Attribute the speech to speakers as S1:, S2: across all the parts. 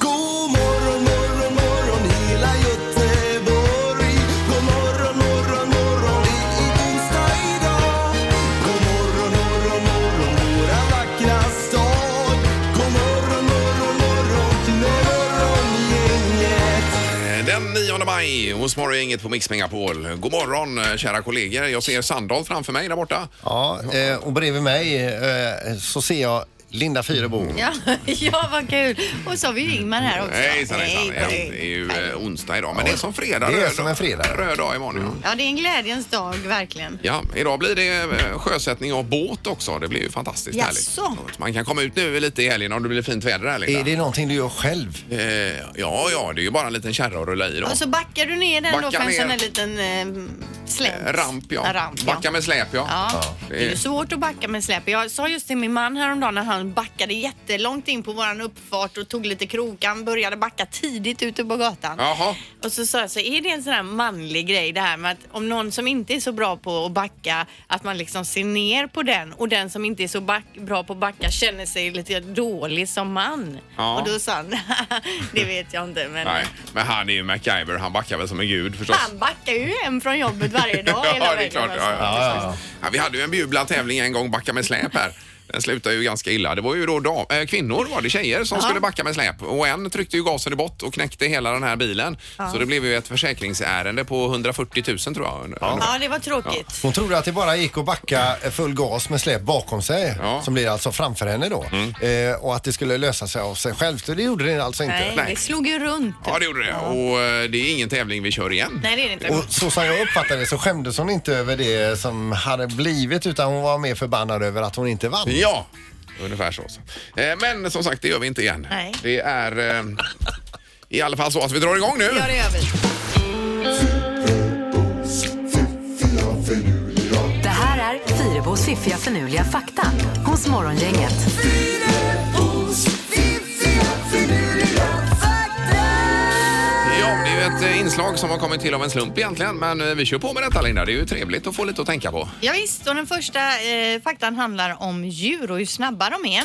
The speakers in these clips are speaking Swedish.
S1: God morgon, morgon, morgon hela Göteborg. God morgon, morgon, morgon det är onsdag idag. God morgon, morgon, morgon våra vackra stad. God morgon, morgon, morgon morgongänget.
S2: Eh, Den 9 maj hos Morgongänget på Mix Megapol. God morgon eh, kära kollegor. Jag ser Sandahl framför mig där borta.
S3: Ja, eh, och bredvid mig eh, så ser jag Linda Fyrebo.
S2: Mm.
S4: Ja, ja, vad kul. Och så har vi ju Ingmar här också.
S2: Hejsan, hejsan. Ja, Det är ju eh, onsdag idag, men det är som fredag.
S3: Det är
S2: röd
S3: som
S2: dag.
S3: en fredag. Mm.
S2: Röd dag imorgon. ja.
S4: Ja, det är en glädjens dag, verkligen.
S2: Ja, idag blir det eh, sjösättning av båt också. Det blir ju fantastiskt
S4: Jaså?
S2: härligt. Man kan komma ut nu lite i helgen om det blir fint väder här Linda.
S3: Är det någonting du gör själv?
S2: Eh, Ja, ja, det är ju bara en liten kärra att rulla i då.
S4: Och
S3: Alltså-
S4: så backar du ner den då
S2: Backa
S4: för en
S2: ner.
S4: sån här liten eh, slänt.
S2: Ramp ja.
S4: En Ramp, ja.
S2: Backa med släp ja.
S4: Ja.
S2: Det
S4: Det är ju
S2: är-
S4: svårt att backa med släp. Jag sa just till min man häromdagen när han backade jättelångt in på våran uppfart och tog lite krokan, började backa tidigt ute på gatan.
S2: Jaha.
S4: Och så sa jag så är det en sån här manlig grej det här med att om någon som inte är så bra på att backa, att man liksom ser ner på den och den som inte är så back, bra på att backa känner sig lite dålig som man.
S2: Ja.
S4: Och då sa han, det vet jag inte men
S2: Nej, men han är ju MacGyver. Han backar väl som en gud förstås.
S4: han backar ju hem från jobbet varje dag hela
S2: Ja, det är
S4: vägen,
S2: klart. Ja,
S4: alltså.
S2: ja, ja. Ja, vi hade ju en bejublad tävling en gång, backa med släp här. Den slutade ju ganska illa. Det var ju då dam, äh, kvinnor, var det tjejer, som skulle backa med släp. Och en tryckte ju gasen i bott och knäckte hela den här bilen. Så det blev ju ett försäkringsärende på 140 000 tror jag.
S4: Ja, det var tråkigt.
S3: Hon trodde att det bara gick att backa full gas med släp bakom sig,
S2: Ja. Mm.
S3: som blir alltså framför henne då. Eh, och att det skulle lösa sig av sig självt. Och det gjorde det alltså inte.
S4: Nej,
S2: Nej.
S4: det slog ju runt.
S2: Ja, det gjorde det. Och eh, det är ingen tävling vi kör igen.
S4: Nej, det är det inte.
S3: Och så som jag uppfattade det så skämdes hon inte över det som hade blivit utan hon var mer förbannad över att hon inte vann.
S2: Ja, ungefär så. Eh, Men som sagt, det gör vi inte igen.
S4: Nej.
S2: Det är eh, i alla fall så att vi drar igång nu.
S4: Ja, det gör vi.
S5: Det här är Fyrabos fiffiga förnuliga fakta hos Morgongänget.
S2: Ja, det är ju ett eh, inslag som har kommit till av en slump egentligen, men eh, vi kör på med detta Linda. Det är ju trevligt att få lite att tänka på.
S4: Ja, visst, och den första eh, faktan handlar om djur och hur snabba de är.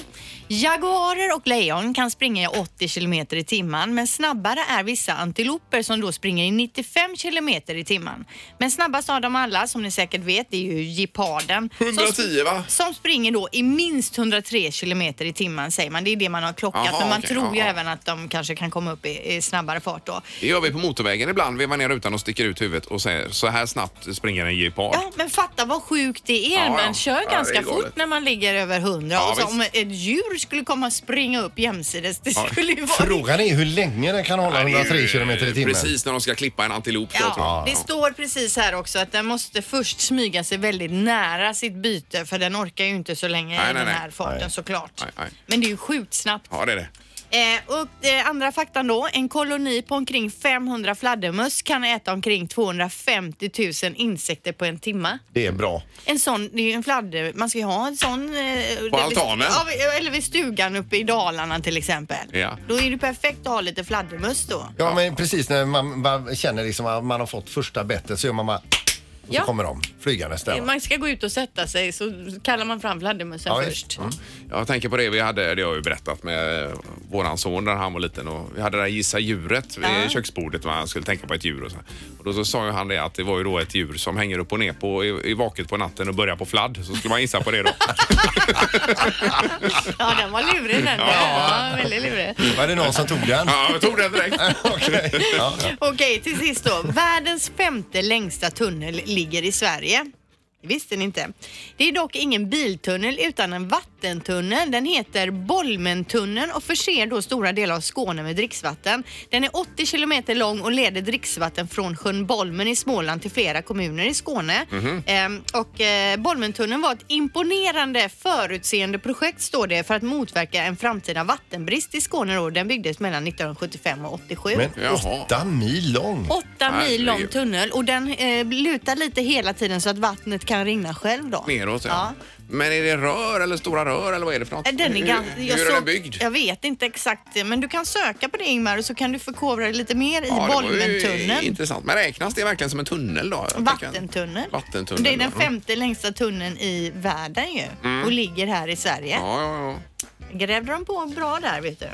S4: Jaguarer och lejon kan springa i 80 kilometer i timmen, men snabbare är vissa antiloper som då springer i 95 kilometer i timmen. Men snabbast av dem alla, som ni säkert vet, det är ju geparden. som
S2: 110, va?
S4: Som springer då i minst 103 kilometer i timmen, säger man. Det är det man har klockat,
S2: Jaha,
S4: men man
S2: okej,
S4: tror ju
S2: ja, ja.
S4: även att de kanske kan komma upp i, i snabbare fart då.
S2: Det gör vi på motorvägen ibland, vevar ner rutan och sticker ut huvudet och säger så här snabbt springer en gepard.
S4: Ja, men fatta vad sjukt det är.
S2: Ja, ja.
S4: Man kör
S2: Ja, det
S4: ganska
S2: är galet.
S4: fort när man ligger över 100.
S2: Ja,
S4: och så
S2: visst.
S4: om ett djur skulle komma och springa upp jämsides, det skulle ju vara...
S3: Frågan är hur länge den kan hålla
S2: Nej, det är ju,
S3: 103 km i timmen.
S2: Eh, Precis när de ska klippa en antilop. då, tror
S4: Ja,
S2: jag.
S4: det står precis här också att den måste först smyga sig väldigt nära sitt byte för den orkar ju inte så länge
S2: Nej,
S4: i
S2: nej,
S4: den här
S2: nej.
S4: farten
S3: Nej.
S4: såklart.
S2: Nej, nej.
S4: Men det är ju sjukt snabbt.
S2: Ja, det är det.
S4: Eh, och eh, andra faktan då, en koloni på omkring 500 fladdermöss kan äta omkring 250 000 insekter på en timme.
S3: Det är bra.
S4: En sån, det är ju en fladder, man ska ju ha en sån... eh,
S2: På
S4: eller-
S2: altanen?
S4: Ja, eller vid stugan uppe i Dalarna till exempel.
S2: Ja.
S4: Då är det perfekt att ha lite fladdermöss då.
S3: Ja, men precis när man, man känner liksom att man har fått första bettet så gör man bara... Och
S4: Ja.
S3: så kommer de flygandes där. va?
S4: Man ska gå ut och sätta sig så kallar man fram fladdermössen
S3: Ja, visst.
S4: först.
S2: Jag tänker på det vi hade, det har jag ju berättat med eh, våran son när han var liten och vi hade det där gissa djuret vid
S4: Ja.
S2: köksbordet och han skulle tänka på ett djur och så. Och då så sa ju han det att det var ju då ett djur som hänger upp och ner på i, i vaket på natten och börjar på fladd. Så skulle man gissa på det då.
S4: Ja, den var lurig den. Ja. väldigt lurig.
S3: Var det någon som tog den?
S2: ja, jag tog den direkt.
S3: Okej. Ja.
S4: Okej, till sist då. Världens femte längsta tunnel ligger i Sverige. Det visste ni inte. Det är dock ingen biltunnel utan en vattentunnel. Den heter Bolmentunneln och förser då stora delar av Skåne med dricksvatten. Den är 80 kilometer lång och leder dricksvatten från sjön Bolmen i Småland till flera kommuner i Skåne. Ehm, och eh, Bolmentunneln var ett imponerande förutseende projekt står det för att motverka en framtida vattenbrist i Skåne. Då. Den byggdes mellan 1975 och 87.
S3: Men
S2: Jaha.
S3: åtta mil lång.
S4: Åtta mil lång
S2: Herregud.
S4: tunnel och den eh, lutar lite hela tiden så att vattnet kan rinna själv då.
S2: Neråt, ja.
S4: ja.
S2: Men är det rör eller stora rör eller vad är det för något?
S4: Eh, Den är
S2: Hur-
S4: ganska...
S2: Hur är den byggd?
S4: Jag vet inte exakt, men du kan söka på det Ingmar och så kan du förkovra dig lite mer i
S2: Ja, det var ju
S4: Bolmentunneln.
S2: Intressant. Men räknas det verkligen som en tunnel då? Jag tänker-
S4: Vattentunneln.
S2: Vattentunneln.
S4: Det är den
S2: ja.
S4: femte längsta tunneln i världen ju och ligger här i Sverige.
S2: Ja, ja, ja. Mm.
S4: Grävde de på bra där vet du.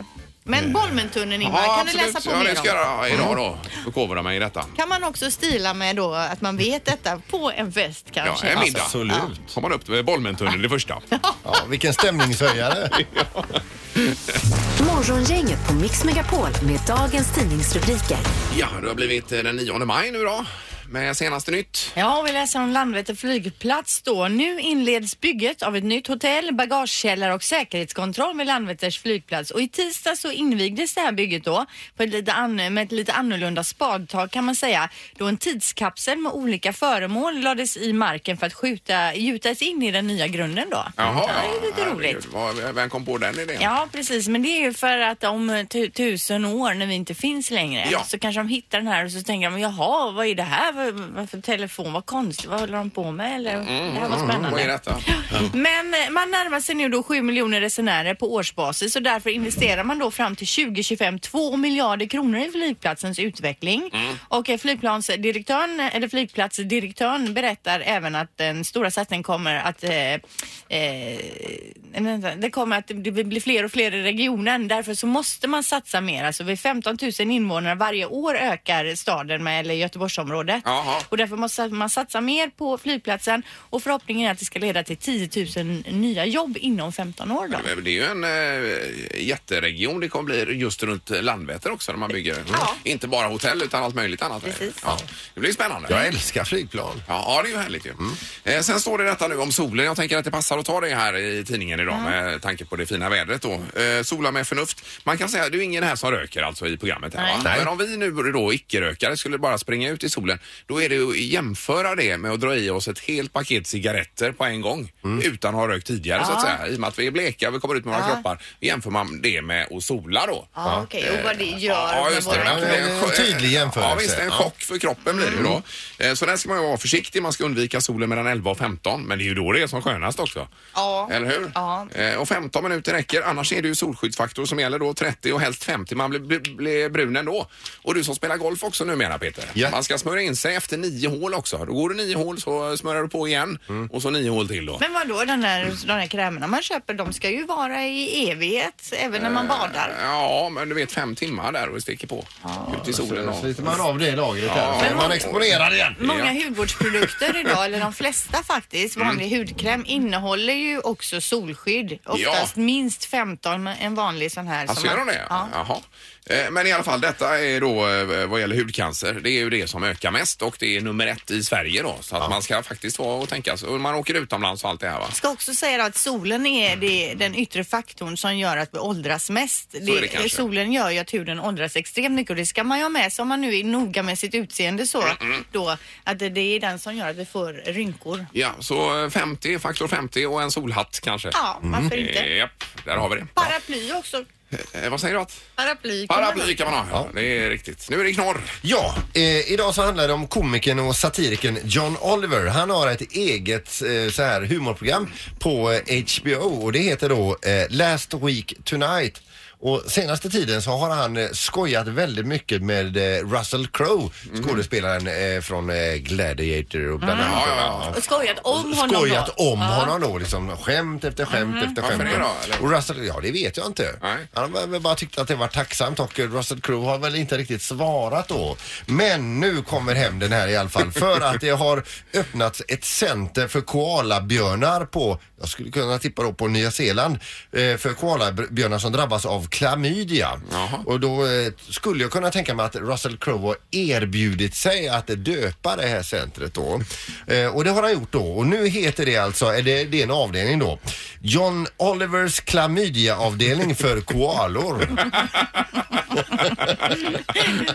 S4: Men Bolmentunneln Ingmar,
S2: Ja,
S4: kan du läsa på
S2: ja,
S4: mer
S2: det ska
S4: om?
S2: jag göra idag då. Förkovra mig i detta.
S4: Kan man också stila med då att man vet detta på en fest
S2: Ja,
S4: kanske?
S2: en middag.
S3: Absolut.
S2: Har man upp till Bolmentunneln det första.
S3: Ja, vilken stämningshöjare.
S5: Morgongänget på Mix Megapol med dagens tidningsrubriker.
S2: Ja, det har blivit eh, den 9 maj nu då. Med senaste nytt.
S4: Ja, vi läser om Landvetter flygplats då. Nu inleds bygget av ett nytt hotell, bagagekällare och säkerhetskontroll vid Landvetters flygplats. Och i tisdag så invigdes det här bygget då på ett lite an- med ett lite annorlunda spadtag kan man säga. Då en tidskapsel med olika föremål lades i marken för att skjuta, gjutas in i den nya grunden då.
S2: Jaha,
S4: det är lite roligt.
S2: herregud. Vad- Vem kom på den idén?
S4: Ja, precis. Men det är ju för att om tu- tusen år när vi inte finns längre
S2: Ja.
S4: så kanske de hittar den här och så tänker de jaha, vad är det här? Vad, vad för telefon? Vad konstigt. Vad håller de på med? Eller, det här var spännande.
S2: Vad är detta?
S4: Men eh, man närmar sig nu då 7 miljoner resenärer på årsbasis och därför investerar man då fram till 2025 2 miljarder kronor i flygplatsens utveckling. Och eh, flygplansdirektören, eller flygplatsdirektören berättar även att den stora satsningen kommer att eh, eh, vänta, det kommer att det blir fler och fler i regionen. Därför så måste man satsa mer. Alltså vid 15 000 invånare varje år ökar staden med, eller Göteborgsområdet.
S2: Jaha.
S4: Och därför måste man satsa mer på flygplatsen och förhoppningen är att det ska leda till 10 000 nya jobb inom 15 år. Då.
S2: Det är ju en eh, jätteregion det kommer bli just runt Landvetter också när man bygger. Inte bara hotell utan allt möjligt annat.
S4: Precis.
S2: Ja, det blir spännande.
S3: Jag älskar flygplan.
S2: Ja, ja, det är ju härligt ju. Eh, sen står det detta nu om solen. Jag tänker att det passar att ta det här i tidningen idag med tanke på det fina vädret då. Eh, sola med förnuft. Man kan säga, det är ju ingen här som röker alltså i programmet här
S4: Nej.
S2: va?
S3: Nej.
S2: Men om vi nu då icke-rökare skulle bara springa ut i solen, då är det ju att jämföra det med att dra i oss ett helt paket cigaretter på en gång utan att ha rökt tidigare så att säga. I och med att vi är bleka, vi kommer ut med våra kroppar. Jämför man det med att sola då.
S4: Ja, okej. Och vad det gör
S2: Ja,
S4: med
S2: just det.
S4: våra-
S2: Men det är
S3: En tydlig jämförelse.
S2: Ja, visst, det är en
S3: Ja. Mm.
S2: chock för kroppen blir det ju då. Eh, Så där ska man ju vara försiktig. Man ska undvika solen mellan 11 och 15. Men det är ju då det är som skönast också.
S4: Ja.
S2: Eller hur?
S4: Ja.
S2: Eh, Och 15 minuter räcker. Annars är det ju solskyddsfaktor som gäller då. 30 och helst 50. Man blir, blir, blir brun ändå. Och du som spelar golf också numera Peter.
S3: Ja.
S2: Man ska smörja in sig efter nio hål också. Då går du nio hål så smörjer du på igen.
S3: Mm.
S2: Och så nio hål till då.
S4: Men vadå, den här, de här krämerna man köper, de ska ju vara i evighet, även när man badar.
S2: Ja, men du vet fem timmar där och steker på. Ut i solen.
S3: Så
S2: Och...
S3: sliter man av det lagret här.
S2: Ja.
S3: Så är man exponerad igen.
S4: Många
S2: Ja.
S4: hudvårdsprodukter idag, eller de flesta faktiskt, vanlig hudkräm innehåller ju också solskydd. Oftast minst 15, men en vanlig sån här.
S2: Alltså gör de det?
S4: Ja.
S2: Jaha. Eh, Men i alla fall detta är då eh, vad gäller hudcancer. Det är ju det som ökar mest och det är nummer ett i Sverige då. Så att man ska faktiskt vara och tänka så. Och Man åker utomlands och allt det här va?
S4: ska också säga då att solen är det, den yttre faktorn som gör att vi åldras mest.
S2: är det kanske.
S4: solen gör ju att huden åldras extremt mycket och det ska man ju ha med sig om man nu är noga med sitt utseende så då att det, det är den som gör att vi får rynkor.
S2: Ja, så eh, 50, faktor 50 och en solhatt kanske.
S4: Ja, varför inte?
S2: Eh, Japp, där har vi det.
S4: Paraply också.
S2: Eh, vad säger du att?
S4: Paraply. kan man ha.
S2: Paraply kan man ha. Ja. Det är riktigt. Nu är det knorr.
S3: Ja, eh, idag så handlar det om komikern och satirikern John Oliver. Han har ett eget eh, så här humorprogram på eh, HBO och det heter då eh, Last Week Tonight. Och senaste tiden så har han eh, skojat väldigt mycket med eh, Russell Crowe, skådespelaren eh, från eh, Gladiator och bland annat.
S4: Och skojat om honom Mhm.
S3: skojat
S4: då.
S3: om honom då. Liksom, skämt efter skämt efter
S2: Varför
S3: skämt.
S2: det då, eller?
S3: och Russell, ja det vet jag inte.
S2: Nej.
S3: Han har väl bara tyckt att det var tacksamt och Russell Crowe har väl inte riktigt svarat då. Men nu kommer hämnden här i alla fall för att det har öppnats ett center för koalabjörnar på, jag skulle kunna tippa då på Nya Zeeland, eh, för koalabjörnar som drabbas av klamydia.
S2: Jaha.
S3: Och då eh, skulle jag kunna tänka mig att Russell Crowe har erbjudit sig att döpa det här centret då. Eh, och det har han gjort då och nu heter det alltså, är det, det är en avdelning då, John Olivers klamydia-avdelning för koalor.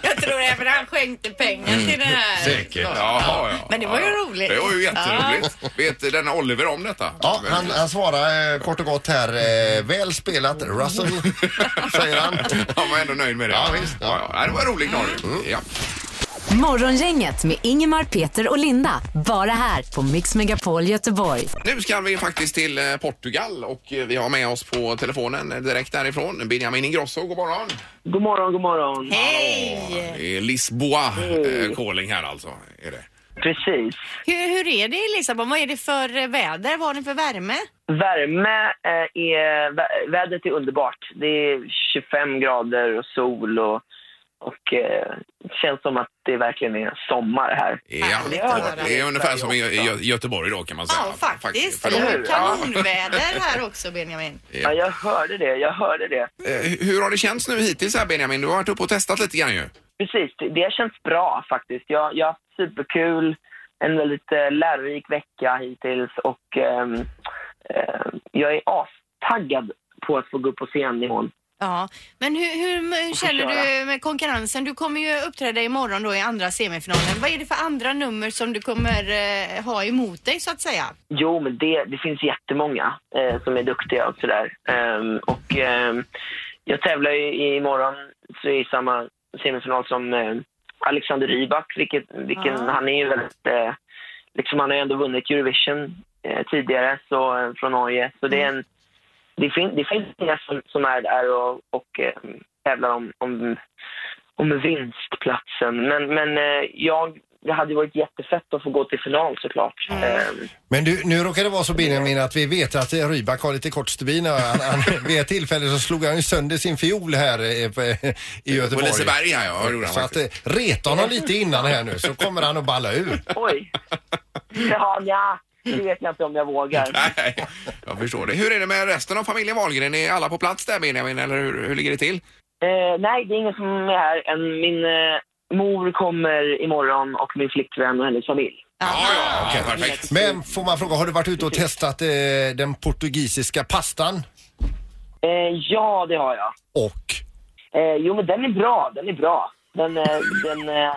S4: Jag tror även han skänkte pengar till det här.
S2: Jaha, ja.
S4: Men det var ju
S2: Ja, ja.
S4: roligt.
S2: Det var ju jätteroligt. Vet den Oliver om detta?
S3: Ja, han, han svarar eh, kort och gott här, eh, väl spelat Russell, säger han.
S2: Han var ändå nöjd med det.
S3: Ja, visst.
S4: Mm.
S2: Ja, ja. Det var roligt knorr. Ja.
S5: Morgongänget med Ingemar, Peter och Linda. Bara här på Mix Megapol Göteborg.
S2: Nu ska vi faktiskt till eh, Portugal och eh, vi har med oss på telefonen eh, direkt därifrån Benjamin Ingrosso. God morgon!
S6: God morgon, god morgon.
S4: Hej!
S2: Det är Lisboa eh, calling här alltså. Är det.
S6: Precis.
S4: Hur, hur är det i Lissabon? Vad är det för eh, väder? Vad har ni för värme?
S6: Värme eh, är... vä- Vädret är underbart. Det är 25 grader och sol och, och eh, det känns som att det verkligen är sommar här.
S2: Ja,
S4: det har jag.
S2: det är ungefär som i Gö- Gö- Göteborg då kan man säga.
S4: Ja, faktiskt.
S2: För
S4: Det
S2: dem.
S4: är ju
S6: Ja.
S4: kanonväder här också, Benjamin.
S6: Ja, jag hörde det, jag hörde det.
S2: Eh, Hur har det känts nu hittills här Benjamin? Du har varit uppe och testat lite grann ju.
S6: Precis, det, det känns bra faktiskt. Jag, jag har haft superkul, en väldigt eh, lärorik vecka hittills och ehm, eh, jag är astaggad på att få gå upp på scennivån.
S4: Ja, men hur, hur, hur
S6: Och få
S4: känner
S6: köra.
S4: du med konkurrensen? Du kommer ju uppträda imorgon då i andra semifinalen. Vad är det för andra nummer som du kommer eh, ha emot dig så att säga?
S6: Jo, men det, det finns jättemånga eh, som är duktiga och sådär. Ehm, och ehm, jag tävlar ju imorgon så i samma semifinal som eh, Alexander Rybak, vilket, vilken,
S4: Ja.
S6: han är ju väldigt, eh, liksom han har ju ändå vunnit Eurovision eh, tidigare så, eh, från Norge. Så det, är en, det, fin, det finns många som, som är där och, och eh, tävlar om, om, om vinstplatsen. Men, men eh, jag, det hade ju varit jättefett att få gå till final såklart. Ehm,
S3: Men du, nu råkar det vara så Benjamin att vi vet att eh, Rybak har lite kort stubin. och Han, han, vid ett tillfälle så slog han ju sönder sin fiol här eh, på- i
S2: På
S3: Göteborg.
S2: Liseberg ja, ja, det gjorde han
S3: Så att
S2: faktiskt.
S3: eh, reta honom lite innan här nu så kommer han att balla ur.
S6: Oj. Ja, nja, det vet jag inte om jag vågar.
S2: Nej, jag förstår det. Hur är det med resten av familjen Wahlgren? Är alla på plats där Benjamin eller hur, hur ligger det till?
S6: Eh, nej, det är ingen som är här än. Min eh, mor kommer imorgon och min flickvän och hennes familj.
S2: Ja, ja, okej, perfekt.
S3: Men får man fråga, har du varit ute och testat eh, den portugisiska pastan?
S6: Eh, ja, det har jag.
S3: Och?
S6: Eh, jo, men den är bra. Den är bra. Den, eh, den, eh,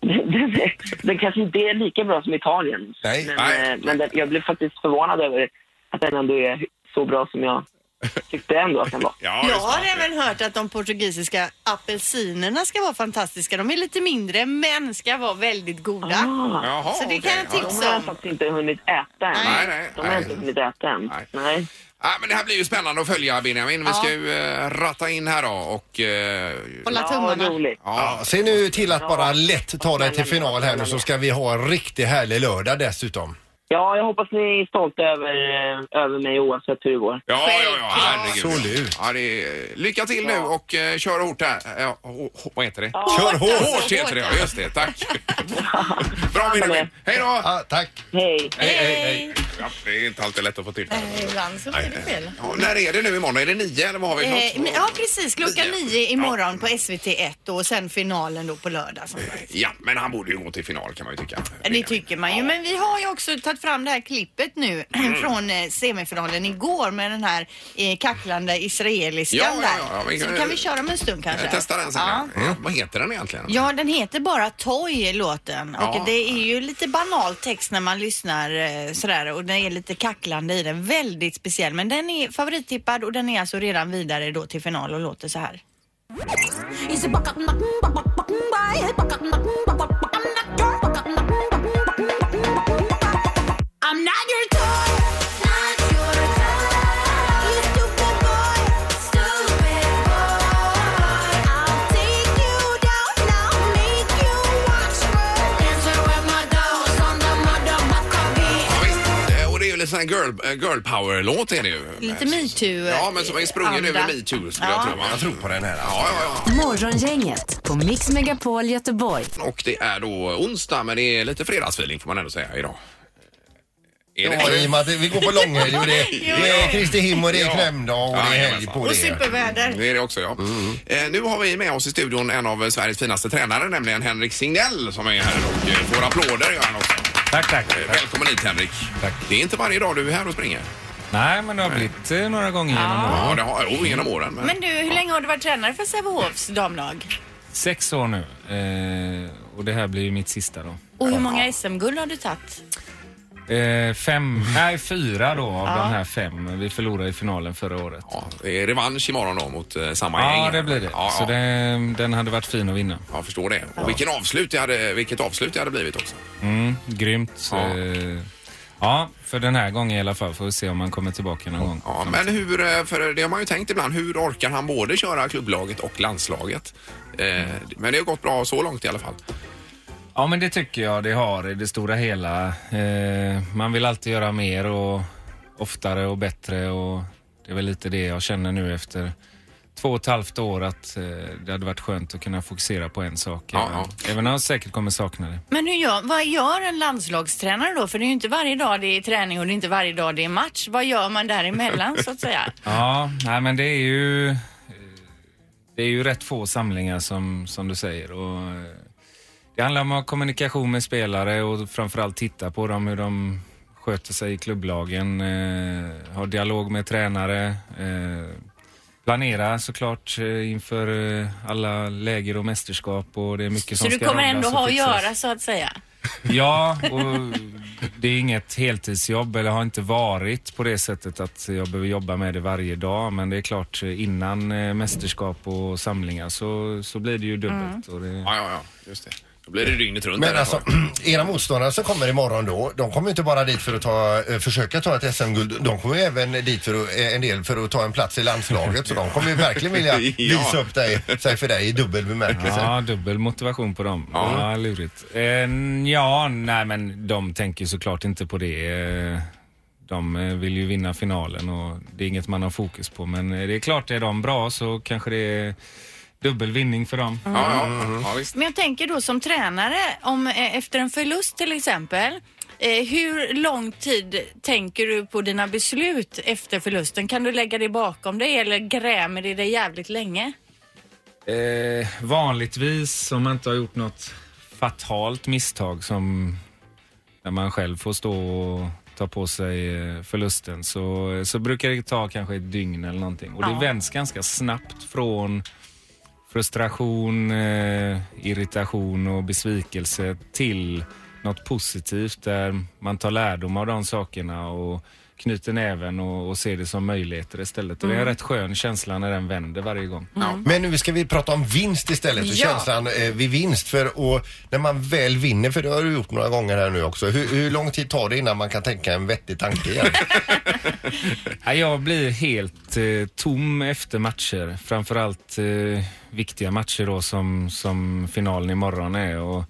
S6: den, den kanske inte är lika bra som Italien.
S3: Nej.
S6: men
S2: Nej.
S6: eh, men den, jag blev faktiskt förvånad över att den ändå är så bra som jag tyckte ändå att den var.
S2: Ja,
S4: Jag
S2: just
S4: har
S2: det.
S4: även hört att de portugisiska apelsinerna ska vara fantastiska. De är lite mindre men ska vara väldigt goda.
S6: Ah,
S2: Jaha,
S4: Så det kan jag
S2: okej. Ja.
S6: de har
S4: tipsa
S6: jag
S4: om.
S6: faktiskt inte hunnit äta än.
S2: Nej, nej,
S6: de har jag
S2: nej.
S6: inte hunnit äta än.
S2: Nej.
S6: nej.
S2: Ja, men det här blir ju spännande att följa Benjamin. Vi ska
S4: Ja.
S2: ju eh, ratta in här då och... eh,
S4: Hålla
S6: Ja, vad
S4: tummarna.
S6: roligt.
S2: ja,
S3: Ja, se nu till att bara lätt ta dig till final här nu så ska vi ha en riktigt härlig lördag dessutom.
S6: Ja, jag hoppas ni är stolta över, eh, över mig oavsett hur det går.
S2: Ja, ja, ja, herregud.
S3: Absolut.
S2: Ja, det är, lycka till nu och eh, kör hårt här. Ja, ho, ho, vad heter det?
S3: Kör
S4: alltså.
S3: hårt!
S2: Hårt heter det, ja. Just det. Tack. Bra, Benjamin. Hej då!
S3: Ja, tack.
S6: Hej!
S3: Hej, hej, hej.
S2: Ja, det är inte alltid lätt att få till det.
S4: Ibland så blir det fel.
S2: Ja, när är det nu imorgon? Är det nio eller vad har vi?
S4: Eh, men-
S2: Något?
S4: ja precis, klockan
S2: Nio.
S4: nio imorgon på SVT1 då, och sen finalen då på lördag. Som sagt.
S2: Ja, men han borde ju gå till final kan man ju tycka.
S4: Det tycker man ju. Men vi har ju också tagit fram det här klippet nu
S2: Mm.
S4: från eh, semifinalen igår med den här eh, kacklande israeliskan
S2: Ja, ja,
S4: där.
S2: ja, ja, vi
S4: Så
S2: kan-
S4: kan vi köra om en stund kanske?
S2: Jag testar den sen.
S4: Ja.
S2: Ja, vad heter den egentligen?
S4: Ja, den heter bara Toy, låten. Och
S2: Ja.
S4: det är ju lite banal text när man lyssnar eh, sådär och den är lite kacklande i den. Väldigt speciell. Men den är favorittippad och den är alltså redan vidare då till final och låter så här.
S7: I'm not your toy, not your toy. You stupid boy, stupid boy. I'll take you down, and I'll make you watch me dancing with my dolls on the motherfucker beat.
S2: Ja, visst. Eh, Och det är ju lite sån här girl, eh, girl power-låt är det ju.
S4: Lite metoo. eh,
S2: Ja, men som är sprungen
S4: anda.
S2: över metoo skulle
S4: Ja.
S2: jag tro. va?
S3: Jag tror på den här. alltså.
S2: Ja, ja,
S5: Morgongänget på Mix Megapol Göteborg.
S2: ja. Och det är då onsdag, men det är lite fredagsfeeling får man ändå säga idag. Är det
S3: Ja, i och med att vi går på långhelg och det, det är Kristi Himm och det är
S2: Ja.
S3: klämdag och det är helg på
S4: Och
S3: det.
S4: superväder.
S2: Det är det också, ja.
S3: Mm.
S2: Eh, nu har vi med oss i studion en av Sveriges finaste tränare, nämligen Henrik Signell som är här och eh, får applåder gör han också.
S8: Tack, tack.
S2: Eh, Välkommen hit Henrik.
S8: Tack.
S2: Det är inte varje dag du är här och springer.
S8: Nej, men det har blivit eh, några gånger genom åren.
S2: Ja, det har jag. Oh, genom åren. Men...
S4: Men du, hur länge har du varit tränare för Sävehofs damlag?
S8: Sex år nu. Eh, och det här blir ju mitt sista då.
S4: Och hur många SM-guld har du tagit?
S8: Eh, fem, nej fyra då av
S2: Ja.
S8: de här fem. Vi förlorade i finalen förra året.
S2: Ja, det är revansch imorgon då mot eh, samma gäng.
S8: Ja, det blir det.
S2: Ja,
S8: Så
S2: ja.
S8: det, den hade varit fin att vinna.
S2: Jag förstår det. Och vilken avslut det hade, vilket avslut det hade blivit också.
S8: Mm, grymt. Ja. ja, för den här gången i alla fall. Får vi se om man kommer tillbaka någon gång.
S2: Ja, men hur, eh, för det har man ju tänkt ibland, hur orkar han både köra klubblaget och landslaget? Eh, Men det har gått bra så långt i alla fall.
S8: Ja, men det tycker jag det har i det stora hela. Eh, man vill alltid göra mer och oftare och bättre och det är väl lite det jag känner nu efter två och ett halvt år att eh, det hade varit skönt att kunna fokusera på en sak. även, även om jag säkert kommer sakna det.
S4: Men hur gör, vad gör en landslagstränare då? För det är ju inte varje dag det är träning och det är inte varje dag det är match. Vad gör man däremellan så att säga?
S8: Ja, nej, men det är ju eh, det är ju rätt få samlingar som, som du säger. Och eh, det handlar om att ha kommunikation med spelare och framförallt titta på dem, hur de sköter sig i klubblagen. Eh, ha dialog med tränare. Eh, planera såklart eh, inför eh, alla läger och mästerskap och det är mycket
S4: Så
S8: som
S4: du
S8: ska
S4: kommer
S8: rundas
S4: ändå
S8: och
S4: ha att
S8: fixas.
S4: göra så att säga?
S8: Ja, och det är inget heltidsjobb eller har inte varit på det sättet att jag behöver jobba med det varje dag. Men det är klart innan eh, mästerskap och samlingar så, så blir det ju dubbelt. Och det...
S2: Ja, ja, ja, just det. Då blir det dygnet runt.
S3: Men
S2: där.
S3: alltså, era motståndare som kommer imorgon då, de kommer ju inte bara dit för att ta, eh, försöka ta ett SM-guld. De kommer ju även dit för att, eh, en del för att ta en plats i landslaget. Så de kommer ju verkligen vilja
S8: Ja.
S3: visa upp dig, sig för dig i dubbel bemärkelse.
S8: Ja, dubbel motivation på dem.
S3: Ja.
S8: Ja, lurigt. Eh, ja, nej men de tänker ju såklart inte på det. Eh, De eh, vill ju vinna finalen och det är inget man har fokus på. Men eh, det är klart, är de bra så kanske det är dubbelvinning för dem.
S2: Ja, ja, ja, visst.
S4: Men jag tänker då som tränare, om, eh, efter en förlust till exempel, eh, hur lång tid tänker du på dina beslut efter förlusten? Kan du lägga det bakom dig eller grämer det dig jävligt länge?
S8: Eh, vanligtvis, om man inte har gjort något fatalt misstag som när man själv får stå och ta på sig eh, förlusten så, så brukar det ta kanske ett dygn eller någonting. Och det
S9: Ja.
S8: vänds ganska snabbt från frustration, eh, irritation och besvikelse till något positivt där man tar lärdom av de sakerna och knyter näven och, och ser det som möjligheter istället. Och det är en
S3: Mm.
S8: rätt skön känsla när den vänder varje gång.
S3: Men nu ska vi prata om vinst istället och
S8: Ja.
S3: känslan eh, vid vinst. För och när man väl vinner, för det har du gjort några gånger här nu också. Hur, hur lång tid tar det innan man kan tänka en vettig tanke igen?
S8: Ja, jag blir helt eh, tom efter matcher. Framförallt eh, viktiga matcher då som, som finalen imorgon är. Och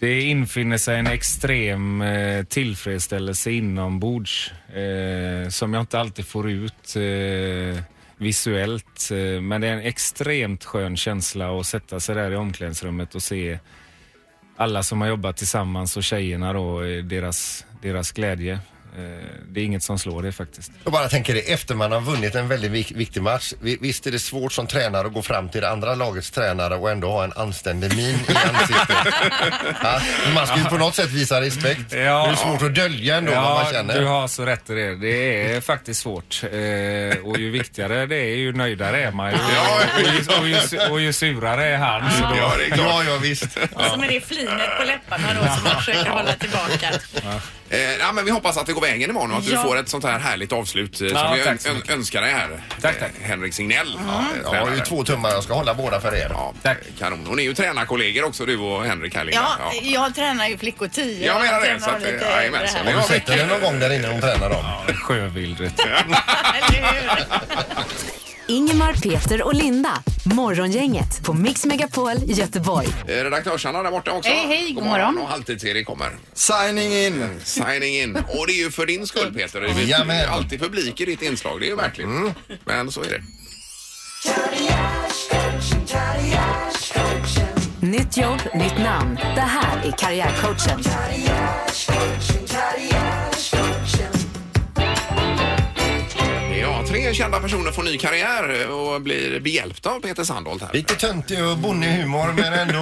S8: det infinner sig en extrem eh, tillfredsställelse inombords eh, som jag inte alltid får ut eh, visuellt. Eh, men det är en extremt skön känsla att sätta sig där i omklädningsrummet och se alla som har jobbat tillsammans och tjejerna då, eh, deras, deras glädje. Eh, Det är inget som slår det faktiskt.
S3: Jag bara tänker det, efter man har vunnit en väldigt vik- viktig match. vi- Visst är det svårt som tränare att gå fram till det andra lagets tränare och ändå ha en anständig min i ansiktet? ja, men man ska ju på något sätt visa respekt. Det är svårt att dölja ändå
S8: ja,
S3: vad man känner.
S8: Du har så rätt i det. Det är faktiskt svårt. Eh, och ju viktigare det är, ju nöjdare är man ju. och, ju, och, ju, och, ju, surare är han. Så då.
S3: Ja, det är klart. Ja, ja, visst.
S4: Som är det flinet på läpparna då som man försöker hålla tillbaka.
S2: Eh, ja, men vi hoppas att det går vägen imorgon och att
S4: Ja.
S2: du får ett sånt här härligt avslut eh,
S3: Ja,
S2: som vi
S3: tack så
S2: ön- önskar dig här. Tack, tack. Henrik Signell. eh,
S3: Jag har ju
S2: tränare.
S3: två tummar, jag ska hålla båda för er.
S2: Ja, Kanon. Och ni är ju tränarkollegor också du och Henrik här Linda.
S4: Ja, jag tränar ju flickor 10.
S2: Jag
S4: och
S2: menar det.
S4: tränar
S2: Så att,
S4: lite
S2: eh, jajamän,
S4: äldre
S2: så
S4: här.
S2: det
S3: Har du sett henne någon gång där inne hon tränar dem?
S8: Sjövild, vet du.
S10: Ingemar, Peter och Linda. Morgongänget på Mix Megapol Göteborg.
S2: Eh, Redaktörsarna där borta också.
S10: Hej, hej, god morgon.
S2: Och halvtids-Erik kommer. Signing in. Signing in. Och det är ju för din skull Peter. Det är ju
S3: Jajamän.
S2: alltid publik i ditt inslag. Det är ju verkligen. Men så är det.
S10: Nytt jobb, nytt namn. Det här är Karriärcoachen.
S2: Ja, tre kända personer får ny karriär och blir behjälpta av Peter Sandholt här.
S3: Lite töntig och bonnig humor men ändå,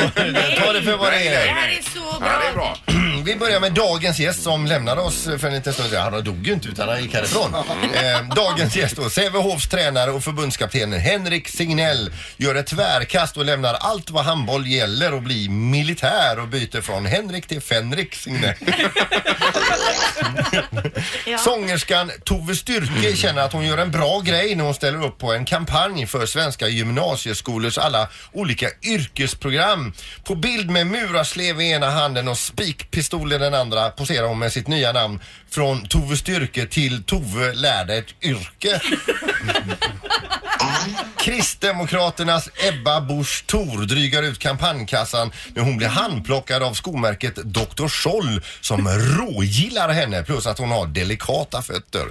S3: ta det för vad det
S2: Nej, nej,
S3: är.
S2: nej.
S4: så
S2: Ja, det är bra.
S3: vi börjar med dagens gäst som lämnade oss för en liten stund sedan. Han dog ju inte utan han gick härifrån. Eh, dagens gäst då, Sävehofs tränare och förbundskaptenen Henrik Signell gör ett tvärkast och lämnar allt vad handboll gäller och blir militär och byter från Henrik till Fenrik Signell. Sångerskan Tove Styrke känner att hon gör en bra grej när hon ställer upp på en kampanj för svenska gymnasieskolors alla olika yrkesprogram. På bild med murarslev i ena handen och spikpistol i den andra poserar hon med sitt nya namn från Tove Styrke till Tove lärde ett yrke. Kristdemokraternas Ebba Busch Thor drygar ut kampanjkassan när hon blir handplockad av skomärket Dr. Scholl som rågillar henne plus att hon har delikata fötter.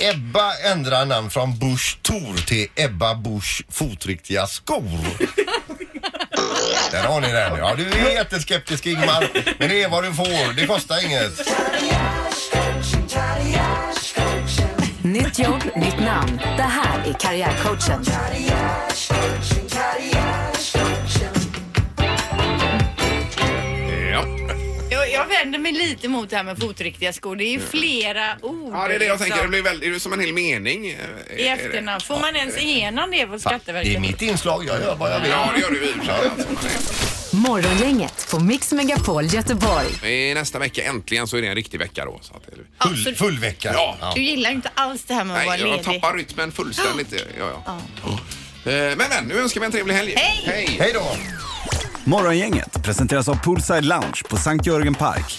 S3: Ebba ändrar namn från Busch Thor till Ebba Busch fotriktiga skor. Där har ni den. Ja, du är jätteskeptisk Ingmar. Men det är vad du får. Det kostar inget.
S5: Nytt jobb, nytt namn. Det här är Karriärcoachen.
S2: Ja.
S11: Jag, jag vänder mig lite mot det här med fotriktiga skor. Det är ju flera ord.
S2: ja, det är det jag
S11: liksom.
S2: tänker. Det blir väl, det är som en hel mening. eh, är-
S11: I
S2: är det.
S11: efternamn. Får man ens igenom det på Skatteverket?
S3: Det är mitt inslag. Jag gör vad jag vill.
S2: Ja, det gör du i och för sig. Alltså,
S5: Morgongänget på Mix Megapol Göteborg.
S2: I nästa vecka äntligen så är det en riktig vecka då. Så att det...
S3: Full, full vecka.
S2: Ja.
S4: Du gillar ju inte alls det här med att vara
S2: Nej, jag
S4: ledig.
S2: tappar rytmen fullständigt. Ja, ja. Eh, Men, men, nu önskar vi en trevlig helg. Hej! Hej,
S3: Hej då!
S12: Morgongänget presenteras av Poolside Lounge på Sankt Jörgen Park.